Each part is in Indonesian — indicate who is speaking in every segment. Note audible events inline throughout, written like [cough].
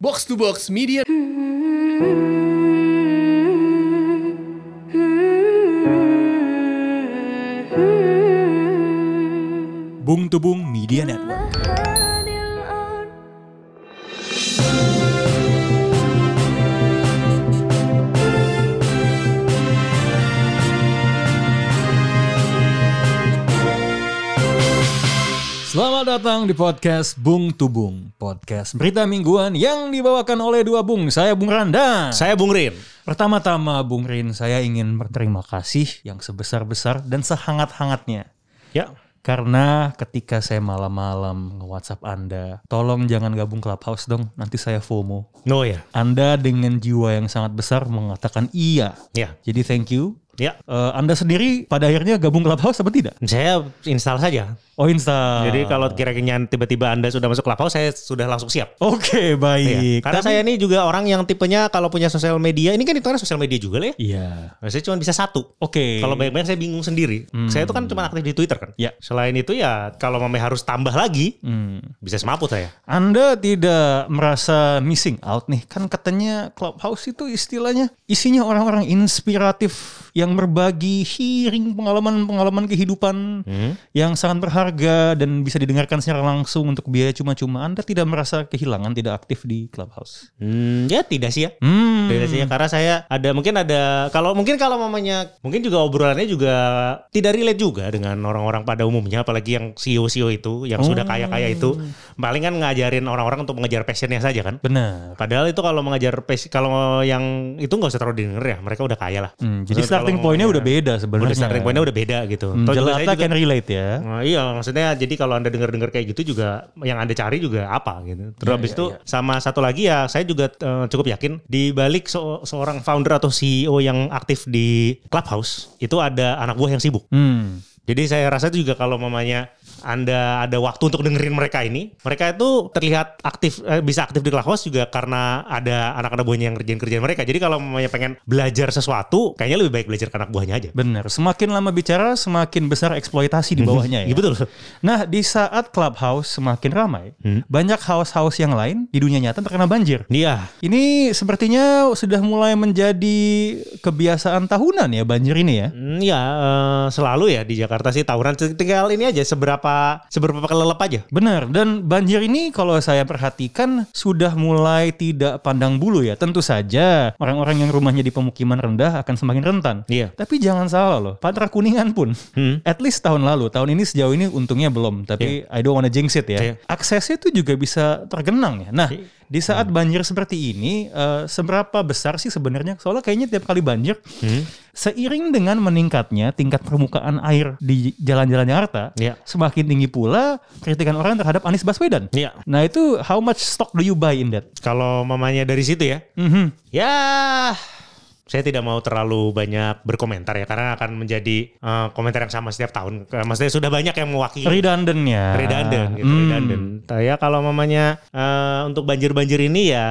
Speaker 1: Box to Box Media
Speaker 2: Bung Tubung Media Network. Selamat datang di podcast Bung Tubung, podcast berita mingguan yang dibawakan oleh dua bung. Ah. Saya Bung Randa.
Speaker 3: Saya Bung Rin.
Speaker 2: Pertama-tama Bung Rin, saya ingin berterima kasih yang sebesar-besar dan sehangat-hangatnya.
Speaker 3: Ya.
Speaker 2: Karena ketika saya malam-malam nge-WhatsApp Anda, tolong jangan gabung Clubhouse dong, nanti saya FOMO.
Speaker 3: No ya.
Speaker 2: Anda dengan jiwa yang sangat besar mengatakan iya.
Speaker 3: Ya.
Speaker 2: Jadi thank you.
Speaker 3: Ya.
Speaker 2: Eh, anda sendiri pada akhirnya gabung Clubhouse apa tidak?
Speaker 3: Saya install saja.
Speaker 2: Oh Insta.
Speaker 3: Jadi kalau kira-kira tiba-tiba Anda sudah masuk Clubhouse, saya sudah langsung siap.
Speaker 2: Oke
Speaker 3: Iya.
Speaker 2: baik.
Speaker 3: Karena
Speaker 2: Tapi-
Speaker 3: saya ini juga orang yang tipenya kalau punya sosial media, ini kan hitungannya sosial media juga lah ya.
Speaker 2: Iya.
Speaker 3: Saya cuma bisa satu.
Speaker 2: Oke.
Speaker 3: Kalau banyak-banyak saya bingung sendiri. Saya itu kan cuma aktif di Twitter kan.
Speaker 2: Ya.
Speaker 3: Selain itu ya kalau memang harus tambah lagi,
Speaker 2: Hmm.
Speaker 3: bisa semaput saya.
Speaker 2: Anda tidak merasa missing out nih? Kan katanya Clubhouse itu istilahnya isinya orang-orang inspiratif yang berbagi sharing pengalaman-pengalaman kehidupan
Speaker 3: Hmm.
Speaker 2: yang sangat berharga dan bisa didengarkan secara langsung untuk biaya cuma-cuma. Anda tidak merasa kehilangan tidak aktif di Clubhouse?
Speaker 3: Hmm, ya tidak sih ya.
Speaker 2: Hmm.
Speaker 3: Tidak sih ya. Karena saya ada mungkin ada kalau mungkin kalau mamanya mungkin juga obrolannya juga tidak relate juga dengan orang-orang pada umumnya apalagi yang E CEO-CEO itu
Speaker 2: Oh.
Speaker 3: yang sudah kaya-kaya itu paling kan ngajarin orang-orang untuk mengejar passionnya saja kan.
Speaker 2: Benar.
Speaker 3: Padahal itu kalau mengajar passion kalau yang itu nggak usah terlalu didengar ya, mereka udah kaya lah.
Speaker 2: Hmm, jadi
Speaker 3: Maksudnya
Speaker 2: starting
Speaker 3: kalau
Speaker 2: pointnya udah
Speaker 3: ngomongnya-
Speaker 2: beda sebenarnya.
Speaker 3: Udah starting pointnya udah beda gitu.
Speaker 2: Hmm,
Speaker 3: Toh juga saya
Speaker 2: jelata
Speaker 3: juga-
Speaker 2: can relate ya.
Speaker 3: Nah, iya maksudnya jadi kalau anda dengar-dengar kayak gitu juga yang anda cari juga apa gitu. Terus habis itu sama satu lagi ya saya juga eh, cukup yakin di balik se- seorang founder atau CEO yang aktif di Clubhouse itu ada anak buah yang sibuk.
Speaker 2: Hmm.
Speaker 3: Jadi saya rasa itu juga kalau mamanya Anda ada waktu untuk dengerin mereka ini, mereka itu terlihat aktif eh, bisa aktif di Clubhouse juga karena ada anak-anak buahnya yang ngerjain kerjaan mereka. Jadi kalau mamanya pengen belajar sesuatu, kayaknya lebih baik belajar ke anak buahnya aja.
Speaker 2: Benar. Semakin lama bicara, semakin besar eksploitasi di bawahnya ya.
Speaker 3: Iya betul.
Speaker 2: Nah, di saat clubhouse semakin ramai, banyak house-house yang lain di dunia nyata terkena banjir.
Speaker 3: Iya.
Speaker 2: Ini sepertinya sudah mulai menjadi kebiasaan tahunan ya banjir ini ya.
Speaker 3: Hmm, ya eh, selalu ya di Jakarta sih tawuran tinggal ini aja seberapa seberapa kelelep aja.
Speaker 2: Benar, dan banjir ini kalau saya perhatikan sudah mulai tidak pandang bulu ya. Tentu saja orang-orang yang rumahnya di pemukiman rendah akan semakin rentan.
Speaker 3: Iya.
Speaker 2: Tapi jangan salah loh, Patra Kuningan pun,
Speaker 3: Hmm,
Speaker 2: at least tahun lalu, tahun ini sejauh ini untungnya belum. Tapi I don't wanna jinx it ya.
Speaker 3: Iya.
Speaker 2: Aksesnya itu juga bisa tergenang ya. Nah, di saat banjir seperti ini, eh, seberapa besar sih sebenarnya? Soalnya kayaknya tiap kali banjir,
Speaker 3: Hmm.
Speaker 2: seiring dengan meningkatnya tingkat permukaan air di jalan-jalan Jakarta,
Speaker 3: Iya.
Speaker 2: semakin tinggi pula kritikan orang terhadap Anies Baswedan.
Speaker 3: Iya.
Speaker 2: Nah itu how much stock do you buy in that?
Speaker 3: Kalau mamanya dari situ ya.
Speaker 2: Mhm.
Speaker 3: Ya, saya tidak mau terlalu banyak berkomentar ya karena akan menjadi eh, komentar yang sama setiap tahun. Eh, Maksudnya sudah banyak yang mewakili.
Speaker 2: Redundant ya.
Speaker 3: Iya. Redundant, gitu,
Speaker 2: Hmm.
Speaker 3: redundant. Ya kalau mamanya eh, untuk banjir-banjir ini ya,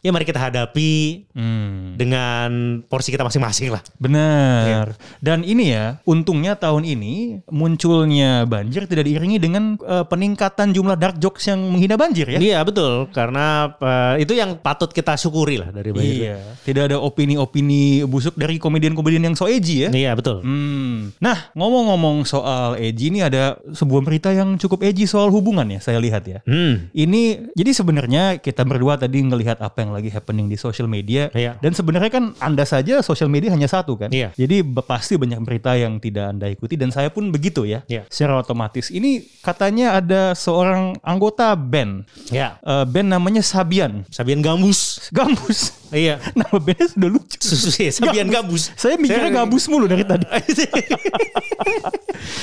Speaker 3: ya mari kita hadapi
Speaker 2: Hmm.
Speaker 3: dengan porsi kita masing-masing lah.
Speaker 2: Benar. Iya. Dan ini ya, untungnya tahun ini munculnya banjir tidak diiringi dengan eh, peningkatan jumlah dark jokes yang menghina banjir ya.
Speaker 3: Iya betul, karena eh, itu yang patut kita syukuri lah dari banjir.
Speaker 2: Iya. Tidak ada opini-opini busuk dari komedian-komedian yang so edgy ya.
Speaker 3: Iya betul.
Speaker 2: Hmm. Nah, ngomong-ngomong soal edgy ini ada sebuah berita yang cukup edgy soal hubungan ya, saya lihat ya.
Speaker 3: Hmm.
Speaker 2: Ini jadi sebenarnya kita berdua tadi ngelihat apa yang lagi happening di social media
Speaker 3: Iya.
Speaker 2: dan sebenarnya kan Anda saja social media hanya satu kan.
Speaker 3: Iya.
Speaker 2: Jadi be- pasti banyak berita yang tidak Anda ikuti dan saya pun begitu ya.
Speaker 3: Iya.
Speaker 2: Secara otomatis ini katanya ada seorang anggota band.
Speaker 3: Ya,
Speaker 2: Eh, band namanya Sabian.
Speaker 3: Sabian Gambus.
Speaker 2: Gambus.
Speaker 3: Iya.
Speaker 2: [laughs] Nama bandnya sudah lucu.
Speaker 3: Susu ya, Sabian Gambus.
Speaker 2: Saya mikirnya gabus mulu dari tadi. Nah.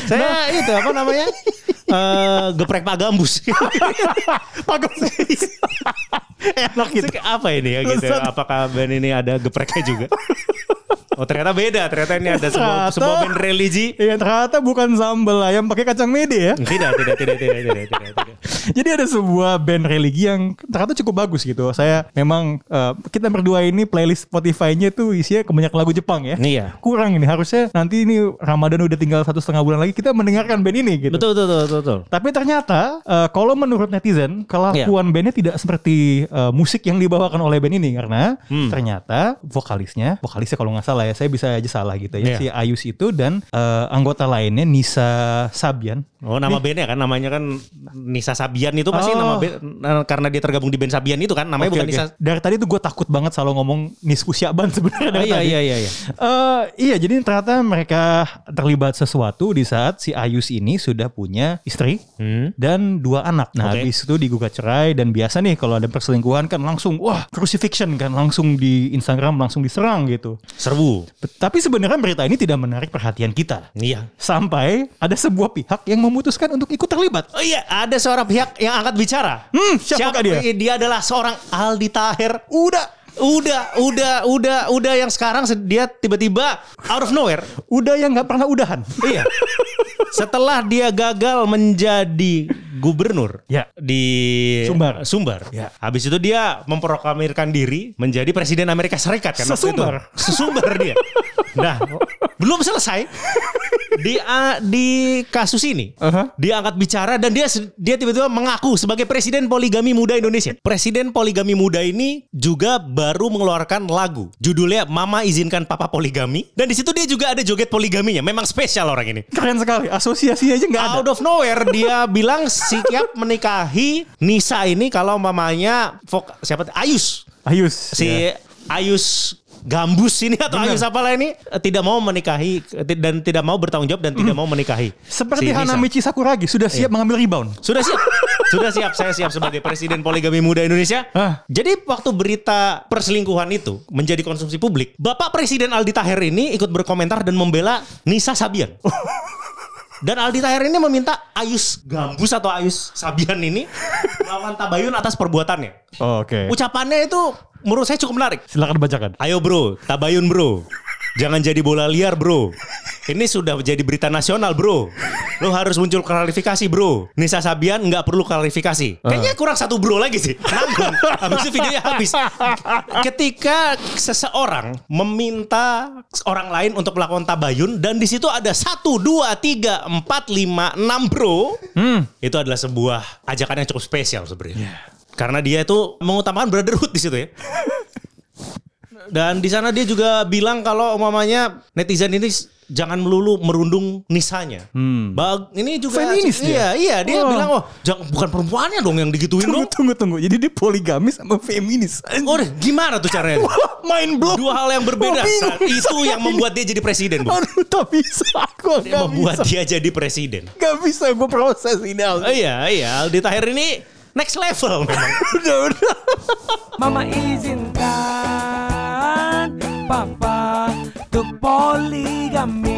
Speaker 3: Saya itu [laughs] apa namanya? Eh, geprek Pak Gambus. [laughs] Pak Gambus. ya? Enak gitu. Apa ini ya gitu? Apakah band ini ada gepreknya juga? Oh ternyata beda, ternyata ini ada sebuah,
Speaker 2: Ternyata.
Speaker 3: sebuah band religi.
Speaker 2: [laughs] Iya ternyata bukan sambal ayam pakai kacang mede ya.
Speaker 3: Tidak, tidak, tidak, tidak, tidak, tidak, tidak.
Speaker 2: Jadi ada sebuah band religi yang ternyata cukup bagus gitu. Saya memang eh, kita berdua ini playlist Spotify-nya tuh isinya kebanyakan lagu Jepang ya.
Speaker 3: Iya.
Speaker 2: Kurang ini harusnya nanti ini Ramadan udah tinggal satu setengah bulan lagi kita mendengarkan band ini gitu.
Speaker 3: Betul, betul, betul, betul, betul.
Speaker 2: Tapi ternyata eh, kalau menurut netizen
Speaker 3: Iya.
Speaker 2: kelakuan bandnya tidak seperti eh, musik yang dibawakan oleh band ini karena
Speaker 3: Hmm.
Speaker 2: ternyata vokalisnya, vokalisnya kalau nggak salah ya, saya bisa aja salah gitu ya
Speaker 3: Iya.
Speaker 2: si Ayus itu dan eh, anggota lainnya Nisa Sabian.
Speaker 3: Oh nama bandnya kan namanya kan Nisa Sabian itu pasti
Speaker 2: Oh.
Speaker 3: nama band nah, karena dia tergabung di band Sabian itu kan namanya
Speaker 2: Oke,
Speaker 3: bukan
Speaker 2: oke.
Speaker 3: Nisa.
Speaker 2: Dari tadi tuh gue takut banget selalu ngomong Niskusyaban [laughs] sebenarnya.
Speaker 3: Oh,
Speaker 2: dari
Speaker 3: iya
Speaker 2: tadi.
Speaker 3: iya iya iya.
Speaker 2: Eh, iya, jadi ternyata mereka terlibat sesuatu di saat si Ayus ini sudah punya istri
Speaker 3: Hmm.
Speaker 2: dan dua anak. Nah,
Speaker 3: Oke.
Speaker 2: habis itu digugat cerai dan biasa nih kalau ada perselingkuhan kan langsung wah crucifixion kan langsung di Instagram langsung diserang gitu.
Speaker 3: Serbu.
Speaker 2: Bet- Tapi sebenarnya berita ini tidak menarik perhatian kita.
Speaker 3: Iya.
Speaker 2: Sampai ada sebuah pihak yang memutuskan untuk ikut terlibat.
Speaker 3: Oh iya, ada seorang pihak yang angkat bicara. Iya,
Speaker 2: Hmm, siapakah dia?
Speaker 3: Dia adalah seorang Aldi Taher. Udah, udah, udah, udah, udah yang sekarang se- dia tiba-tiba out of nowhere.
Speaker 2: Udah yang nggak pernah udahan.
Speaker 3: iya. Setelah dia gagal menjadi gubernur
Speaker 2: Ya.
Speaker 3: di
Speaker 2: Sumbar.
Speaker 3: Sumbar.
Speaker 2: Ya.
Speaker 3: Habis itu dia memproklamirkan diri menjadi presiden Amerika Serikat kan waktu itu.
Speaker 2: Sesumbar.
Speaker 3: Sesumbar dia. Nah, belum selesai di a- di kasus ini.
Speaker 2: Aha.
Speaker 3: Dia angkat bicara dan dia se- dia tiba-tiba mengaku sebagai presiden poligami muda Indonesia. Presiden poligami muda ini juga baru mengeluarkan lagu. Judulnya Mama Izinkan Papa Poligami dan di situ dia juga ada joget poligaminya. Memang spesial orang ini.
Speaker 2: [laughs] Keren sekali. Asosiasinya aja nggak ada.
Speaker 3: Out of nowhere dia [laughs] bilang siap menikahi Nisa ini kalau mamanya Fok- siapa Ayus
Speaker 2: Ayus.
Speaker 3: si
Speaker 2: ya.
Speaker 3: Ayus Gambus ini atau
Speaker 2: Bener.
Speaker 3: Ayus apalah ini eh, tidak mau menikahi eh, ti- dan tidak mau bertanggung jawab dan tidak mau menikahi
Speaker 2: Seperti
Speaker 3: si Nisa.
Speaker 2: Hanamichi Sakuragi sudah siap mengambil rebound.
Speaker 3: Sudah siap. Sudah siap saya siap sebagai presiden poligami muda Indonesia.
Speaker 2: Hah?
Speaker 3: Jadi waktu berita perselingkuhan itu menjadi konsumsi publik, Bapak Presiden Aldi Taher ini ikut berkomentar dan membela Nisa Sabian. Dan Aldi Taher ini meminta Ayus Gambus atau Ayus Sabian ini melawan tabayun atas perbuatannya.
Speaker 2: Oke.
Speaker 3: Ucapannya itu menurut saya cukup menarik.
Speaker 2: Silakan bacakan.
Speaker 3: Ayo bro, tabayun bro. Jangan jadi bola liar bro. Ini sudah jadi berita nasional bro. Lo harus muncul klarifikasi bro. Nisa Sabian nggak perlu klarifikasi. Kayaknya kurang satu bro lagi sih. Nanggung. Habis itu videonya habis. Ketika seseorang meminta orang lain untuk melakukan tabayun dan di situ ada satu, dua, tiga, empat, lima, enam bro. Itu adalah sebuah ajakan yang cukup spesial
Speaker 2: Iya.
Speaker 3: sebenarnya. Karena dia itu mengutamakan brotherhood di situ ya. Dan di sana dia juga bilang kalau umpamanya netizen ini s- jangan melulu merundung nisanya. Bag- ini juga
Speaker 2: Hmm. Feminis
Speaker 3: iya,
Speaker 2: dia?
Speaker 3: Iya, dia
Speaker 2: Oh.
Speaker 3: bilang oh, jangan bukan perempuannya dong yang digituin
Speaker 2: Tunggu,
Speaker 3: dong.
Speaker 2: tunggu, tunggu. Jadi dia poligamis sama feminis. [laughs]
Speaker 3: Oh, deh, gimana tuh caranya?
Speaker 2: Main blok.
Speaker 3: Dua hal yang
Speaker 2: Oh,
Speaker 3: berbeda.
Speaker 2: bingung.
Speaker 3: itu yang membuat dia jadi presiden, Bu.
Speaker 2: Aduh, tak bisa. Aku gak
Speaker 3: Membuat
Speaker 2: bisa.
Speaker 3: dia jadi presiden.
Speaker 2: Gak bisa gue proses ini. Al.
Speaker 3: Oh, iya, iya, Aldi Tahir ini next level memang.
Speaker 2: udah, udah.
Speaker 1: Mama izinkan Papa untuk poligami